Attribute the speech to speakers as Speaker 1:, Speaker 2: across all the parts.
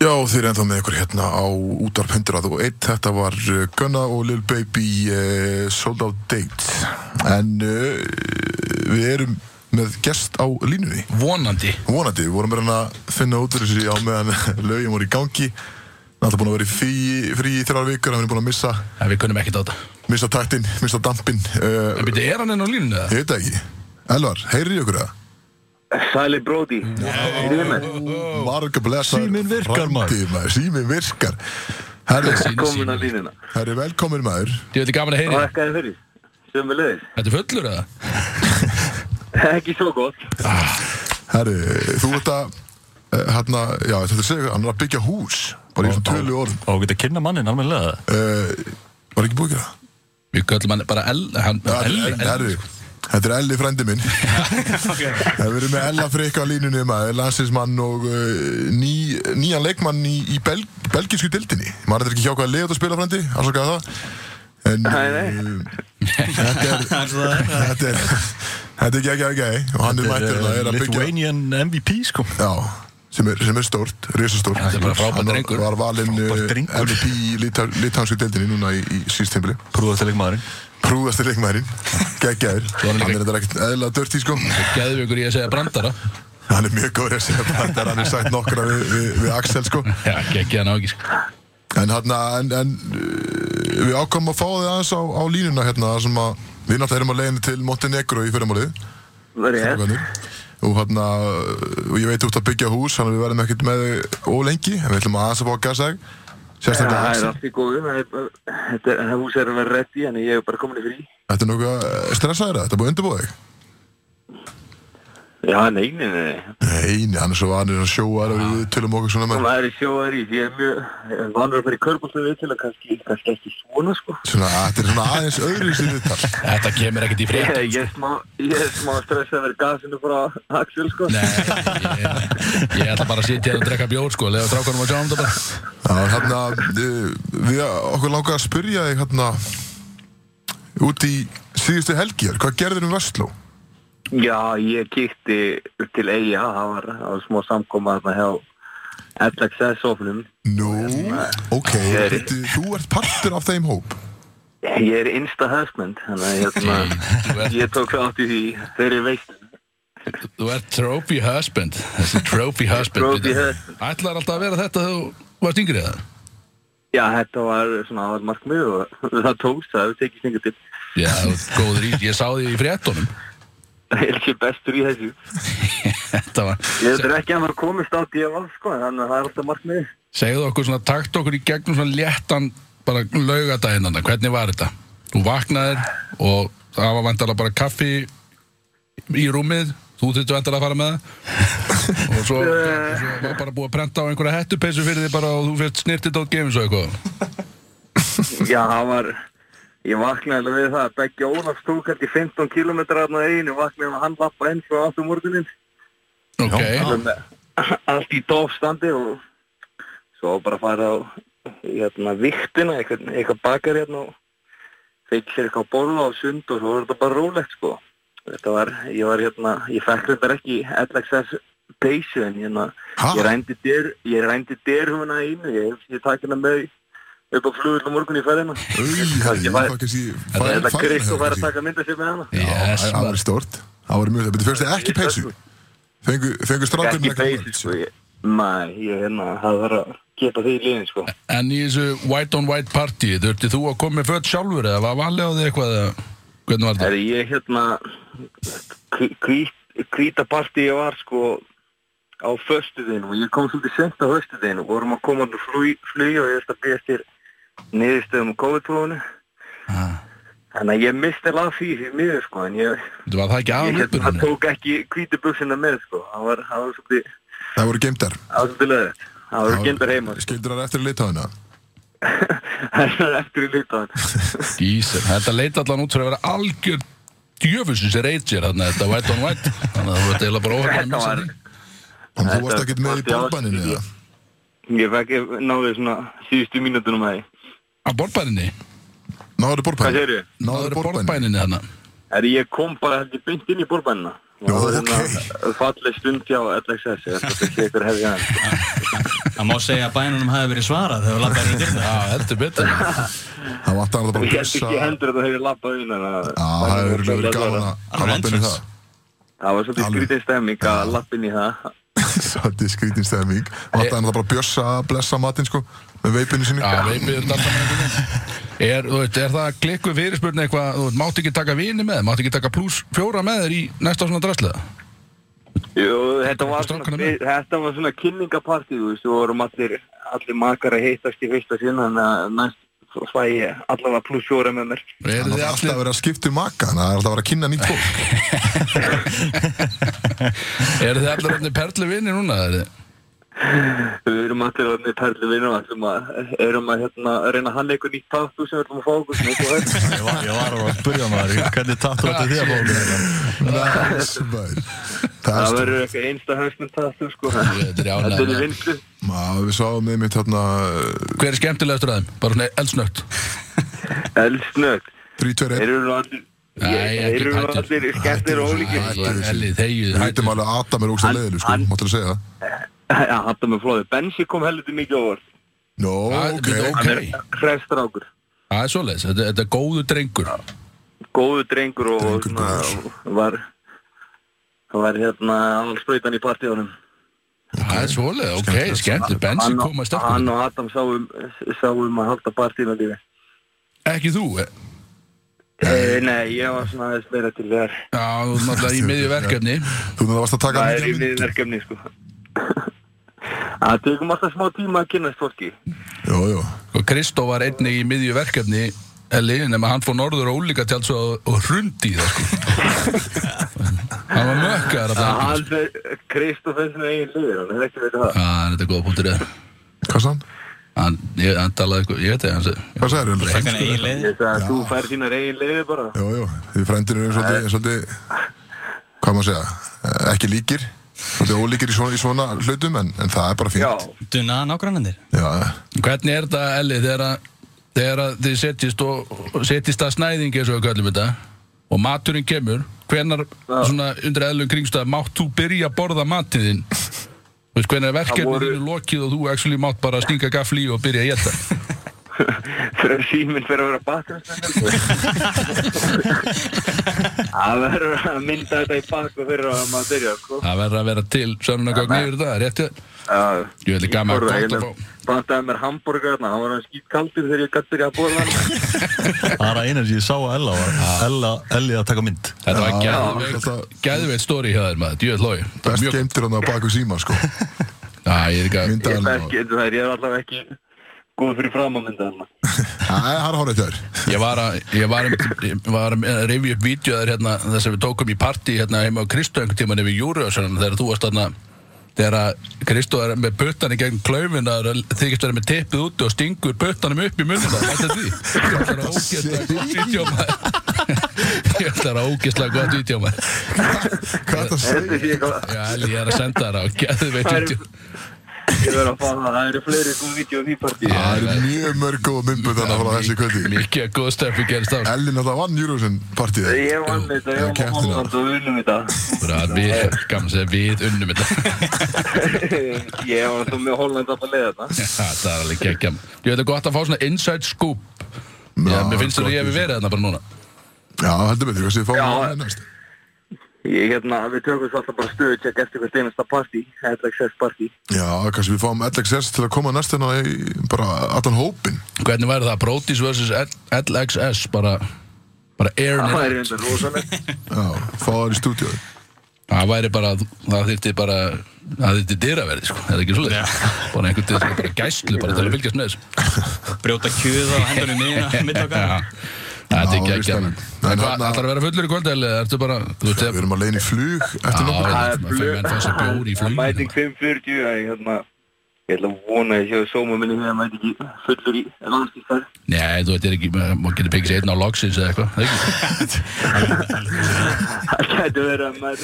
Speaker 1: Já, þeir eru ennþá með ykkur hérna á útarp 101 Þetta var uh, Gunna og Lil Baby uh, Sold Out Date En uh, við erum með gest á línunni
Speaker 2: Vonandi
Speaker 1: Vonandi, við vorum með hann að finna út úr þessu á meðan lögjum voru í gangi Hann er búin að vera í frí, frí í þrjár vikur Hann er búin að missa,
Speaker 2: ja, Við kunnum ekkert á þetta
Speaker 1: missa taktin, missa dampin uh,
Speaker 2: En byrju, er hann enn á línunni eða?
Speaker 1: Ég veit það ekki Elvar, heyrið ykkur það?
Speaker 3: Sæli Brody Heyrðu þið mér?
Speaker 1: Marga blessar
Speaker 4: Síminn virkar, maður.
Speaker 1: maður Símin virkar Herri,
Speaker 2: Sínu,
Speaker 3: Komin
Speaker 2: sínu.
Speaker 3: að línina
Speaker 1: herri velkomin maður
Speaker 2: Ég veit gaman að heyri þig.
Speaker 3: Þakkaði fyrir Sjömmu leiðis
Speaker 2: Þetta er fullur eða?
Speaker 3: Ekki svo gott
Speaker 1: Herri, þú ert að eh, hérna, já, þetta er segja, hann er að byggja hús bara í þessum tölu orðum
Speaker 4: Og geta að kynna mannin almennilega
Speaker 1: uh, Var ekki búið að gera það?
Speaker 2: Við köllum hann bara El, hann,
Speaker 1: Já,
Speaker 2: el,
Speaker 1: þetta er-
Speaker 2: el,
Speaker 1: Herri, þetta er Elli frændi minn Það verður með Ella Freyka á línunni maður, landsinsmann og uh, ný, nýjan leikmann í, í Bel, belgísku dildinni maður er ekki hjá hvaða leið þetta spila frændi afsakaði það en
Speaker 3: Nei,
Speaker 1: uh, þetta er þetta er þetta er ekki ekki ekki og hann er mættur það er að byggja
Speaker 4: eh, Lithuanian MVP sko
Speaker 1: já, sem er, sem er stórt, risastórt
Speaker 2: Þetta er bara frábær
Speaker 1: Hann var-
Speaker 2: drengur.
Speaker 1: var valinn uh,
Speaker 4: Frábær drengur.
Speaker 1: MVP í Lita- lithánsku deildinni núna í, í síðstempili
Speaker 4: Prúðast leikmaðurinn
Speaker 1: prúðasti leikmærin, geggjaður
Speaker 2: Svo
Speaker 1: hann
Speaker 2: hann er líka-
Speaker 1: er þetta ekkert eðla dörti sko
Speaker 2: Gæðu ykkur í að segja brandara
Speaker 1: hann er mjög góður að segja þetta er hann er sagt nokkra við, við, við Axel sko
Speaker 2: Já, ekki hann á ekki sko.
Speaker 1: en hérna, en, en uh, við ákvæmum að fá þig aðeins á, á línuna hérna þar sem að við náttúrulega erum að leiðinu til Montenegro í fyrramálið
Speaker 3: Verið hér
Speaker 1: strákarnir. og hérna, uh, og ég veit út að byggja hús þannig að við verðum ekkert með þig ólengi en við ætlum aðeins að fá að gasa þig sérstaklega
Speaker 3: Það er
Speaker 1: Axel,
Speaker 3: allt í góðu Það er bara- þetta er- það hús er að vera reddi En ég er bara komin í frí
Speaker 1: þetta er nokkuð stressaður þetta er búið að undirbúa þig
Speaker 3: Já, nei, nei, nei nei.
Speaker 1: nei, nei, hann er svo vanur að sjóa við tölum okkur svona með
Speaker 3: Það er í sjóðar í Því ég er mjög vanur að fara í körbólta við til kannski, kannski ekki svona sko
Speaker 1: svona, þetta er svona aðeins öðru sér viðtal
Speaker 2: Þetta kemur ekkert í
Speaker 3: Ég
Speaker 2: frétt
Speaker 3: ég er smá, ég er smá stressað að vera gasinu frá Axel sko
Speaker 2: Nei, ég, ég ætla bara að sitja hérna og drekka bjór sko Lefa strákunum að sjá um þetta bara
Speaker 1: Já, hérna, uh, við okkur langar að spyrja þig hérna út í síðustu helgjar, hvað gerður um Vestló?
Speaker 3: Já, ég kíkti upp til eiga, það var, það var smá samkoma þarna hjá LXS-ofnum.
Speaker 1: Nú, ok,
Speaker 3: Ég er-
Speaker 1: Bittu, þú ert partur af þeim hóp.
Speaker 3: Ég er insta husband, þannig að
Speaker 2: Þú
Speaker 3: hérna,
Speaker 2: ert-
Speaker 3: ég tók þátt í því þeirri veikt.
Speaker 2: Þú ert trophy husband Þessi trophy husband
Speaker 3: Trophy
Speaker 2: byrju.
Speaker 3: husband.
Speaker 2: Ætlar alltaf að vera þetta þegar þú varst yngri eða?
Speaker 3: Já, þetta var svona aðal markmið og það tókst, það hefur tekið sengu til.
Speaker 2: Já, þú ert góður í, ég sá því í fréttunum
Speaker 3: Ég er ekki bestur í þessu.
Speaker 2: Þetta var
Speaker 3: Ég veit ekki að maður komist á DFL, sko, þannig að það er alltaf markmið.
Speaker 2: Segðu okkur svona, takt okkur í gegnum svona léttan bara laugardaginn þarna, hvernig var þetta? Þú vaknaðir og það var vantarlega bara kaffi í rúmið, þú þurftu vantarlega að fara með það og svo, svo var bara búið að prenta á einhverja hettupeysu fyrir því bara og þú fyrst snirtið á gefins og eitthvað
Speaker 3: Já, það var, ég vaknaði alveg við það að Beggi Ólafs tók held í 15 km aðna einu, vaknaði með hann lappa eins og aftur morguninn.
Speaker 2: Ok,
Speaker 3: Alveg með allt í dofstandi og svo bara fara á hérna, viktina, eitthvað, eitthvað bakar hérna og fekk sér eitthvað að borða á sund og svo var þetta bara rólegt sko. Þetta var, ég var hérna, ég fekk þetta ekki LXS peysu en hérna,
Speaker 1: Ha?
Speaker 3: ég rændi dyr, ég rændi dyrhuna einu, ég, ég takk hérna með upp á flugul á morgun í ferðina.
Speaker 1: Új, herri,
Speaker 3: Ég
Speaker 1: ég
Speaker 3: var-
Speaker 1: fækast í
Speaker 3: Þetta
Speaker 1: fæ-
Speaker 3: er þetta
Speaker 1: fæ-
Speaker 3: Krist og fara að
Speaker 1: fæ-
Speaker 3: taka mynda sér með hana.
Speaker 1: Já,
Speaker 2: yes,
Speaker 1: Það var stort, það var mjög, betur fyrst þið ekki peysu, fengu, fengu strákurinn
Speaker 3: Ekki peysu sko,
Speaker 1: mörg?
Speaker 3: ég, næ, ég hérna, það var að geta því í liðin sko.
Speaker 2: en í þessu white on white party, þurfti þú að koma með fött sjálfur eða var valið á því eitthvað eða hvernig var
Speaker 3: Er
Speaker 2: þetta?
Speaker 3: ég hérna kvítaparti ég var sko á föstudinu og ég kom svolítið sent á föstudinu og vorum að koma úr flug, flug og ég veist að býja eftir niðurstöðum á COVID-prófunu Þannig að ég misti alveg því því miður sko en ég,
Speaker 2: Þetta Var það ekki
Speaker 3: ég
Speaker 2: aðan
Speaker 3: hérna, það
Speaker 2: uppurinn?
Speaker 3: tók ekki kvítabuxina með sko það var, það var svolítið
Speaker 1: Það voru geimdar.
Speaker 3: það var svolítið leðið það var gendar heima sko.
Speaker 1: Skildur þar eftir að leita á hana.
Speaker 3: það er eftir í litaðan
Speaker 2: Gísir, þetta leit allan út fyrir að vera algjör djöfusins reytsér þarna þetta white on white þannig að þú ert eiginlega bara óhægt að
Speaker 3: Þetta
Speaker 2: missa
Speaker 3: var-
Speaker 2: því
Speaker 1: Þannig að þú
Speaker 3: Þetta
Speaker 1: varst ekkert með í
Speaker 3: varst í
Speaker 1: bólbaninu
Speaker 3: ástríðu.
Speaker 1: eða?
Speaker 3: ég fekk náðið svona síðustu mínútunum að því
Speaker 2: Á borðbæninni?
Speaker 1: Náður
Speaker 3: hvað
Speaker 1: bólbaninu?
Speaker 3: segir þau?
Speaker 2: Náður
Speaker 1: Náður bólbaninu?
Speaker 2: borðbæninni þannig
Speaker 3: Er ég kom bara heldur beint inn í bórbænina
Speaker 1: Já,
Speaker 3: og hérna,
Speaker 1: ok.
Speaker 3: falleg stund hjá LXS ég ætla ekki að ykkur hefði hann
Speaker 5: Það má segja að bænunum hafi verið svarað þegar lappar í dyrna.
Speaker 2: Já, heldur betur
Speaker 1: Það vantar hann að bara
Speaker 3: Ég held
Speaker 1: bussa
Speaker 3: ekki
Speaker 1: Já,
Speaker 3: hendur þetta hefur lappað inn en að-
Speaker 1: það hefur örugglega verið gaman að- að
Speaker 5: Alveg
Speaker 1: lappa inn í
Speaker 5: entrance.
Speaker 1: það
Speaker 3: Það var svolítið
Speaker 1: Alveg.
Speaker 3: skrítið stemming að lappa inn í það
Speaker 1: Svolítið skrítin stemming Vantar hann að bara bjössa að blessa matinn sko Með veipinu sinni
Speaker 2: Já, veipið þetta alltaf með einhvern veginn er, þú veit, er það klikkuð fyrirspurni eitthvað Þú veit, máttu ekki taka vini með Máttu ekki taka pluss fjóra með þér í næsta svona drastlega
Speaker 3: Jú, þetta var
Speaker 2: strákana
Speaker 3: svona,
Speaker 2: með?
Speaker 3: við- þetta var svona kynningapartí, þú veist, við vorum allir, allir makar að hittast í fyrsta sinn, þannig að næst svo fæ ég allavega pluss fjóra með mér.
Speaker 1: Þannig
Speaker 2: Er
Speaker 1: að
Speaker 2: þið
Speaker 1: það er alltaf
Speaker 2: allir,
Speaker 1: verið að skipta um maka Þannig að það er alltaf verið að kynna nýtt fólk
Speaker 2: er þið allir allir perlu vini núna er þið?
Speaker 3: Við erum allir orðinni perli vinnum, ætlum að, erum að hérna, reyna að hanna eitthvað nýtt tattu sem við ætlum að fá okkur sem eitthvað er.
Speaker 4: Ég var, ég var að spyrja maður, hvernig tattu
Speaker 2: Ah,
Speaker 4: þetta því að fólk?
Speaker 1: Nice, maður. Það er
Speaker 3: Það
Speaker 1: stórt.
Speaker 3: verður eitthvað einsta hausminn tattu, sko.
Speaker 2: Þetta er í
Speaker 3: Þetta er í
Speaker 2: ánægð
Speaker 3: vinslu.
Speaker 1: Má, Við sáum með mitt hérna
Speaker 2: Hver er skemmtilegastur að þeim? Bara svona eldsnögt
Speaker 3: Elsnögt.
Speaker 1: 3-2-1
Speaker 3: Þeir eru nú allir,
Speaker 2: Nei,
Speaker 3: ég- þeir
Speaker 2: ekki
Speaker 3: eru nú
Speaker 2: hættur.
Speaker 3: allir skemmtir og ólíkir.
Speaker 1: Hættu þessu.
Speaker 2: Elli, þegið
Speaker 1: Við
Speaker 2: hættu.
Speaker 1: veitum alveg að Adam er ógst að
Speaker 3: Hann-
Speaker 1: leiðinu sko
Speaker 3: hann-
Speaker 1: Máttu að segja það
Speaker 3: Já, hættu með flóði. Bensi kom helviti mikið á óvart.
Speaker 1: Nó,
Speaker 2: Það-
Speaker 1: ok
Speaker 2: bíddu, ok.
Speaker 1: ok.
Speaker 3: Hann er hrefstrákur.
Speaker 2: Það er svoleiðis, þetta, þetta er góðu drengur
Speaker 3: góðu drengur og
Speaker 1: Drengur
Speaker 3: svona,
Speaker 1: góður.
Speaker 3: var var hérna allspröytan í partíunum
Speaker 2: Það er svoleiðis, ok,
Speaker 1: Skemmtilegt.
Speaker 2: skemmt Bensi
Speaker 3: hann, og-
Speaker 2: koma
Speaker 3: hann
Speaker 2: sterkur
Speaker 3: og Adam sáum, sáum að halda partíuna lífi
Speaker 2: Ekki þú, eh?
Speaker 3: e, Nei, ég var svona aðeins meira til þér
Speaker 2: já, þú ert náttúrulega í miðju verkefni
Speaker 1: Þú þannig að varst að taka
Speaker 3: Það er í
Speaker 1: mikla mynd.
Speaker 3: miðverkefni sko Það tekum alltaf smá tíma að kynast fólki
Speaker 1: Jó, jó
Speaker 2: Og Kristó var einnig í miðju verkefni Elli, nema hann fór norður og ólíka tjáls og, og hrundi í það sko. hann var mökkaðar að það
Speaker 3: Hann, Kristoff er svona eigin liður hann er ekki veit það
Speaker 2: hann Ah, er góða punktur eða
Speaker 1: Hvað sann?
Speaker 2: hann, ég, hann talaði eitthvað, ég veit það
Speaker 1: Hvað sagðir þú?
Speaker 5: Takkan eigin leið.
Speaker 3: Þess að þú fær þínar eigin liður bara
Speaker 1: Jó, jó Því frændinu er svolítið, svolítið Hvað maður segja eh, Ekki líkir Svolítið ólíkir í svona, í svona hlutum en, en það er bara
Speaker 3: Já,
Speaker 1: fínt
Speaker 5: Dunnaða nágrannandir.
Speaker 1: Já,
Speaker 2: hvernig er þetta Elli þegar, að- þegar að þið setjist og, og setjist að snæðingi eins og við kallum þetta og maturinn kemur hvenar svona undir eðlum kringstæð mátt þú byrja að borða matinn þinn Þú veist, hvernig er verkefni
Speaker 3: voru-
Speaker 2: þínu lokið og þú actually mátt bara stinga gafli í og byrja að geta
Speaker 3: Þegar síminn fyrir að vera bakgrunnsmennandi Það verður að mynda þetta í bak og fyrir að maður byrja sko.
Speaker 2: Það verður að vera til sönnunagögn yfir það, réttu Ég vil ekki að maður gott að fá
Speaker 3: Bantaði mér hambúrgarna, hann var hann skýt kaldur þegar ég gætt byrja að bóla hann
Speaker 4: Það er að eina sem ég sá að Ella var
Speaker 1: Ah.
Speaker 4: Ella, Elli að taka mynd
Speaker 2: Þetta var
Speaker 1: þetta-
Speaker 2: gæðveitt gæðveitt stóri hjá þér maður, djöð hlói Það var
Speaker 1: best
Speaker 2: mjög,
Speaker 1: geimtir hann á baku síma sko
Speaker 2: já ég er ekki að
Speaker 1: Mynda
Speaker 3: Ég
Speaker 1: hann
Speaker 3: er ekki, þú veist, ég er allavega ekki góð fyrir fram að mynda hann
Speaker 1: Það er hár hárið þér
Speaker 2: Ég var að, ég var að, ég var að rifja upp vídjóðar hérna, þess að við tókum í partí hérna heima á Kristó einhvern tímann yfir Júriðarsson þegar þú varst þarna þegar að Kristó er með puttan í gegn klaufin að þykist vera með tippið úti og stingur puttanum upp í munina Þetta er því Ég ætlar að ógæslega gott vídjó maður Ég ætlar að ógæslega gott vídjó maður
Speaker 1: Hvað er það að segja?
Speaker 3: Þetta sé eitthvað,
Speaker 2: Já, Elí, ég er að senda þér á gæðveitt
Speaker 3: Það er-
Speaker 2: vídjó
Speaker 3: ég verður að fá það, það eru fleiri góð vídeo í því partí
Speaker 1: Það eru mjög mörg góða mymbur þannig að fara þessi kvöldi
Speaker 2: Mikið að góð stöfi gerist á
Speaker 1: Ellin alltaf vann Eurovision partíð
Speaker 3: Ég vann þetta,
Speaker 1: Já,
Speaker 3: ég var
Speaker 1: keppnina.
Speaker 3: Holland og við unnum þetta
Speaker 2: Bara að við, gaman að segja, við unnum þetta
Speaker 3: Ég var alltaf með Holland alltaf leið þetta
Speaker 2: Já, Það er alveg gekkja Ég veit að gott að fá svona inside scoop Já, mér finnst þetta að ég hefði verið þarna bara núna
Speaker 1: Já, heldur betur, hvað séu fáum
Speaker 3: Já,
Speaker 1: við að næst
Speaker 3: Ég hérna, við tökum svo alltaf bara stöðu tjekk eftir hvert einasta partí, LXS partí.
Speaker 1: Já, kannski við fáum LXS til að koma næst hérna í bara allan hópin
Speaker 2: Hvernig væri það? Brotis vs. L- LXS bara, bara airin it
Speaker 3: Það er reyndar rosalegt.
Speaker 1: Já, fá það í stúdíói
Speaker 2: Það væri bara, það þyrfti bara það þyrfti dyraverði, sko, er það ekki svolítið bara einhvern veginn, bara gæslu bara til að fylgjast með þessu
Speaker 5: Brjóta kjöða og hendur um miðina mitt
Speaker 2: Já,
Speaker 5: okkar.
Speaker 1: Já,
Speaker 2: Þetta er gekkja
Speaker 1: veist það. En
Speaker 2: En hvað,
Speaker 1: þarna-
Speaker 2: ætlar að vera fullur í kvöld eða ertu bara, þú veist,
Speaker 1: Við erum að leiðin í flug eftir nokkur
Speaker 2: Já,
Speaker 1: dag.
Speaker 3: Það er
Speaker 2: maður fyrir menn fá sér bjór í
Speaker 3: blöð.
Speaker 2: fluginu.
Speaker 3: Mæting 5.40, að ég hérna, ég ætla að vona að ég séu sóma minni þegar mæti ekki fullur í landstíðstær.
Speaker 2: Nei, þú veit, er ekki, maður getur pekið sér einn á loksins eða eitthvað, það ekki?
Speaker 3: Það getur verið að maður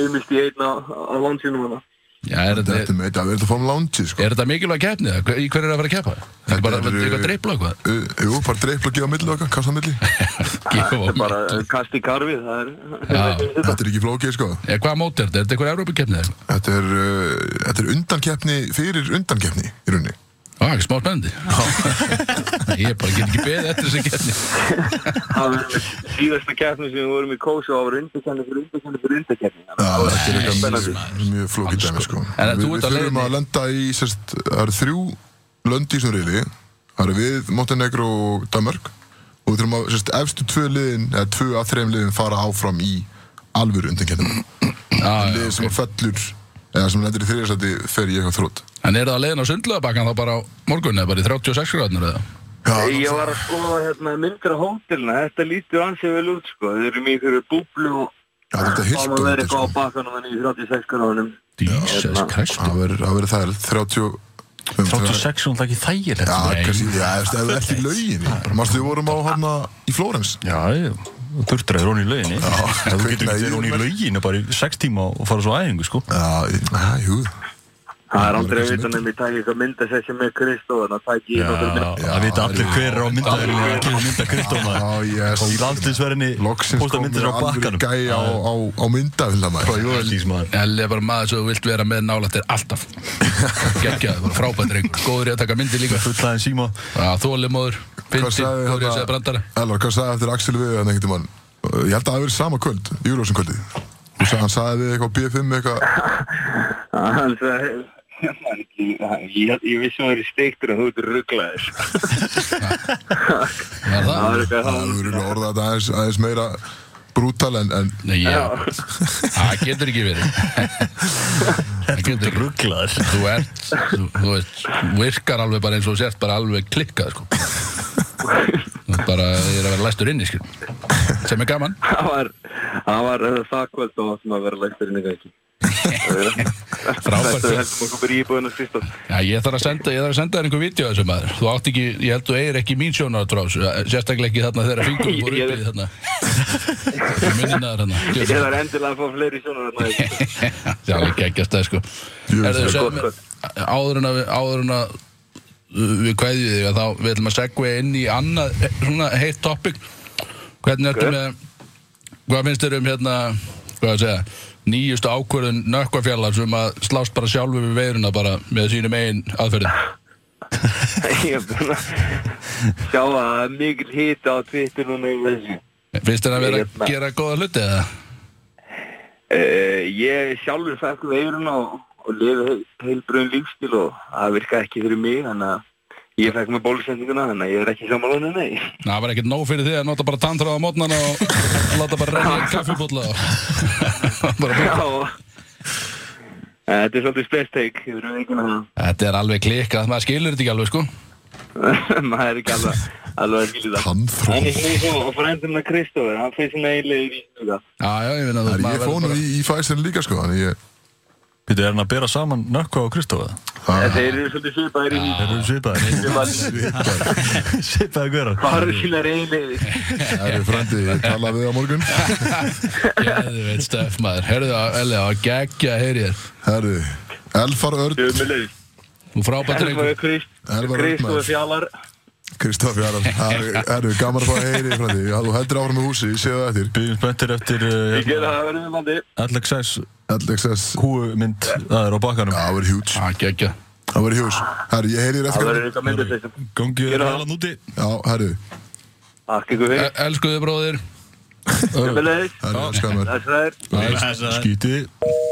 Speaker 3: auðmist í einn á, á landstíðnum hana.
Speaker 2: Já, er
Speaker 1: Þetta
Speaker 2: þetta,
Speaker 1: er með þetta að vera þetta fórum lánti sko.
Speaker 2: er þetta mikilvæg keppni? eða? Í hverju er að fara að keppa? Þetta er bara
Speaker 1: Þetta eru-
Speaker 2: eitthvað dreipla eitthvað?
Speaker 1: Uh, Jú, bara dreipla og gefa milli okkar, kasta á milli
Speaker 2: Gefa á
Speaker 3: bara
Speaker 2: móti.
Speaker 3: eh, kast í karfið það
Speaker 2: Já.
Speaker 3: er
Speaker 1: Þetta er ekki flókið sko
Speaker 2: Eða hvaða mót er þetta? Er þetta eitthvað Evrópukeppni eða eitthvað?
Speaker 1: Þetta er, uh, þetta er undankeppni fyrir undankeppni í rauninni
Speaker 2: Á, ekki smá spennandi. Ég bara get ekki beðið eftir þessi keppni.
Speaker 3: það er síðasta keppni sem við vorum í kósa og það var undarkenni fyrir undarkenni fyrir undarkenni
Speaker 1: Það er
Speaker 3: það
Speaker 1: ekki
Speaker 3: er
Speaker 1: mjög,
Speaker 3: spennandi
Speaker 1: mjög flókið dæmi sko
Speaker 2: En
Speaker 1: Við,
Speaker 2: þú
Speaker 1: við
Speaker 2: ert á
Speaker 1: þurfum
Speaker 2: leiðinni-
Speaker 1: að lenda í, sérst, það eru þrjú lönd í þessum reyli Það eru við, Montenegro og Danmark Og við þurfum að, sérst, efstu tvö liðin, eða tvö að þreim liðin fara áfram í alvöru undankeppnum
Speaker 2: Já, Ah, já,
Speaker 1: Liðið sem
Speaker 2: ok.
Speaker 1: fellur, eða sem lendir í þriðarsæti fer í eitthvað þrótt
Speaker 2: En er það að leiðin á sundlöðabakkan þá bara á morgun eða bara í 36 gráðnur eða?
Speaker 3: Ég var að skoða hérna myndir á hótelina, þetta lítur ansið vel út sko, þeir eru mjög fyrir búblu og
Speaker 1: Já, þetta er heilt
Speaker 3: það má
Speaker 1: ónýtt,
Speaker 3: vera eitthvað á
Speaker 1: sko.
Speaker 3: bakkanum en í 36 gráðunum.
Speaker 2: Jesus
Speaker 3: hérna.
Speaker 2: Christ.
Speaker 1: Það verður það verður það er 30 um,
Speaker 4: 36 er alltaf ekki þægilegt
Speaker 1: Já,
Speaker 4: sko.
Speaker 2: Nei.
Speaker 1: kannski, já, eftir, eftir, eftir lögin Mástu við vorum á hana í Flórens
Speaker 4: Já, já, þú durdraður hún í lauginni Þú getur ekki
Speaker 1: kviknaði í
Speaker 4: verið hún í
Speaker 1: honum.
Speaker 4: lauginni bara í 6 tíma og fara svo á æfingu sko
Speaker 1: Já, í- já, jú
Speaker 3: Það er aldrei að vita nefnum ég tæk eitthvað myndasessi með Kristó en það tæk ég eitthvað
Speaker 4: Já,
Speaker 3: mynd.
Speaker 4: það vita allir hver er á myndaðurinn að gefa mynda kryptóma
Speaker 1: Já, yes
Speaker 4: og í landsliðsverðinni
Speaker 1: Loksins
Speaker 4: posta myndir á
Speaker 1: alveg
Speaker 4: bakkanum
Speaker 1: gæja á, á, á myndavilla maður
Speaker 4: Jólísmaður
Speaker 2: Elli er bara maður sem þú vilt vera með nálægt þér alltaf Gekkjaði, bara frábænt reyng Góður í að taka myndi líka
Speaker 4: fullaðin síma
Speaker 2: Þólimóður,
Speaker 1: Hvað
Speaker 2: Pinti,
Speaker 1: sagði hérna?
Speaker 2: góður í að segja
Speaker 1: þetta
Speaker 2: brandara
Speaker 1: Elvar, hvað sagði eftir Axel við hann einhvern mann Ég held að það hafi verið sama kvöld, Júljósum kvöldi sagði, Hann sagði við eitthvað B5 eitthvað
Speaker 3: Hann sagði, hérna, ég- ég ég vissi að það eru steiktur en þú ert rugglaðis.
Speaker 2: Er
Speaker 3: Það
Speaker 2: það?
Speaker 3: var eitthvað
Speaker 1: Það
Speaker 3: það.
Speaker 1: hefur verið orðað þetta aðeins, aðeins meira brútal en, en
Speaker 2: Nei, ég, það getur ekki verið Það getur ekki
Speaker 4: rugglaður
Speaker 2: Þú ert, þú, þú veist, virkar alveg bara eins og þú sért bara alveg klikkað sko Þú ert bara er að vera læstur inni skil Sem er gaman
Speaker 3: Það var, það var eh, það kvöld og það að vera lægstur inn í gangi.
Speaker 2: Frábært.
Speaker 3: Þetta er heldur mjög fyrir íbúðinu Kristó.
Speaker 2: Já, ég þarf að senda, ég þarf að senda þér einhver vídeo af þessu maður Þú átt ekki, ég held þú eigir ekki mín sjónarátráðs Sérstaklega ekki þarna þegar fingurum
Speaker 3: Ég-
Speaker 2: voru upp
Speaker 3: ég
Speaker 2: í þarna Minnaður þarna
Speaker 3: Ég
Speaker 2: djöfull.
Speaker 3: þarf endilega að fá fleiri sjónar en það.
Speaker 2: Það er ekki ekki að stað sko
Speaker 1: Jú,
Speaker 2: Herðu,
Speaker 1: það er
Speaker 2: segðu
Speaker 3: gott,
Speaker 2: mér, Áður en að við- áður en að uh, við kveðjum þig að þá við ætlum að segja inn í annað eh, svona heitt topic hvernig ertu
Speaker 3: Ok.
Speaker 2: með hvað finnst þér um hérna hvað að segja nýjustu ákvörðun nökkvafjallar sem að slást bara sjálfur við veiruna bara með sínum eigin aðferðin
Speaker 3: Ég er búinn að sjá að það er mikil hita á Twitter núna yfir þessu.
Speaker 2: finnst þér að vera
Speaker 3: Hérna.
Speaker 2: að gera góða hluti eða?
Speaker 3: Uh, ég sjálfur fætti veiruna og, og lifi heilbröðum lífstil og það virkaði ekki fyrir mig þannig að ég fætti með bólusendinguna þannig að ég er ekki samanlónu, nei.
Speaker 2: Ná, það var ekkert nóg fyrir því að nota bara tantráða á mótnana og láta bara reyna kaffibólla og bara
Speaker 3: Já, og- Eh, þetta er svolítið spes take yfir veikuna þannig
Speaker 2: Þetta er alveg klikkað, maður skilur þetta ekki alveg sko
Speaker 3: að maður er ekki alveg, alveg að skilja það.
Speaker 1: tannþró
Speaker 3: En ég finnst svo, og frændurinn að Kristófur, hann finnst sinna eiginlega í ríkninga.
Speaker 2: Já, já, ég finna
Speaker 1: Það er ég fónu í, í fæsinn líka sko Þannig ég,
Speaker 4: Býtu, er hann að bera saman nökkva og Kristófa?
Speaker 1: það
Speaker 3: Þeir eru svolítið svipaðir í
Speaker 4: Þeir eru Ah. svipaðir Svipaðir hverjar
Speaker 3: Bara sínar eiginlega.
Speaker 1: Það er frændi, ég tala við á morgun
Speaker 2: Gæðu veit stöf maður Herðu það, Elli, það var geggja að heyri þér
Speaker 1: Herru, Elfar Örn,
Speaker 3: Sjömmulegis.
Speaker 2: Þú frábært
Speaker 3: Elfar
Speaker 2: reykur
Speaker 1: Elfar Örn,
Speaker 3: Kristófur
Speaker 1: maður.
Speaker 3: Fjallar.
Speaker 1: Kristoff Jarl Herru, gaman að fá að heyri frændi Já, Þú heldur áfram með húsi, ég sé það eftir
Speaker 4: Býðum spenntir eftir eh,
Speaker 3: Ég gera það að verðum við bandi.
Speaker 4: LXS
Speaker 1: LXS,
Speaker 4: húmynd Það er á
Speaker 1: já,
Speaker 4: bakkanum
Speaker 1: það verður hjúts
Speaker 2: Já, geggja
Speaker 1: Það verður hjús Herru, ég heyri þér
Speaker 3: Það
Speaker 1: eftir
Speaker 3: verður eitthvað myndasessum.
Speaker 4: Gangið
Speaker 3: Gera
Speaker 4: er
Speaker 3: það.
Speaker 4: hælan úti
Speaker 1: Já, herru,
Speaker 3: Takk ykkur fyrir.
Speaker 2: E- Elskuðu bróðir
Speaker 3: Sjömmulegis.
Speaker 1: herru, skamur
Speaker 3: Þessar.
Speaker 5: Blessaður.
Speaker 4: Skítið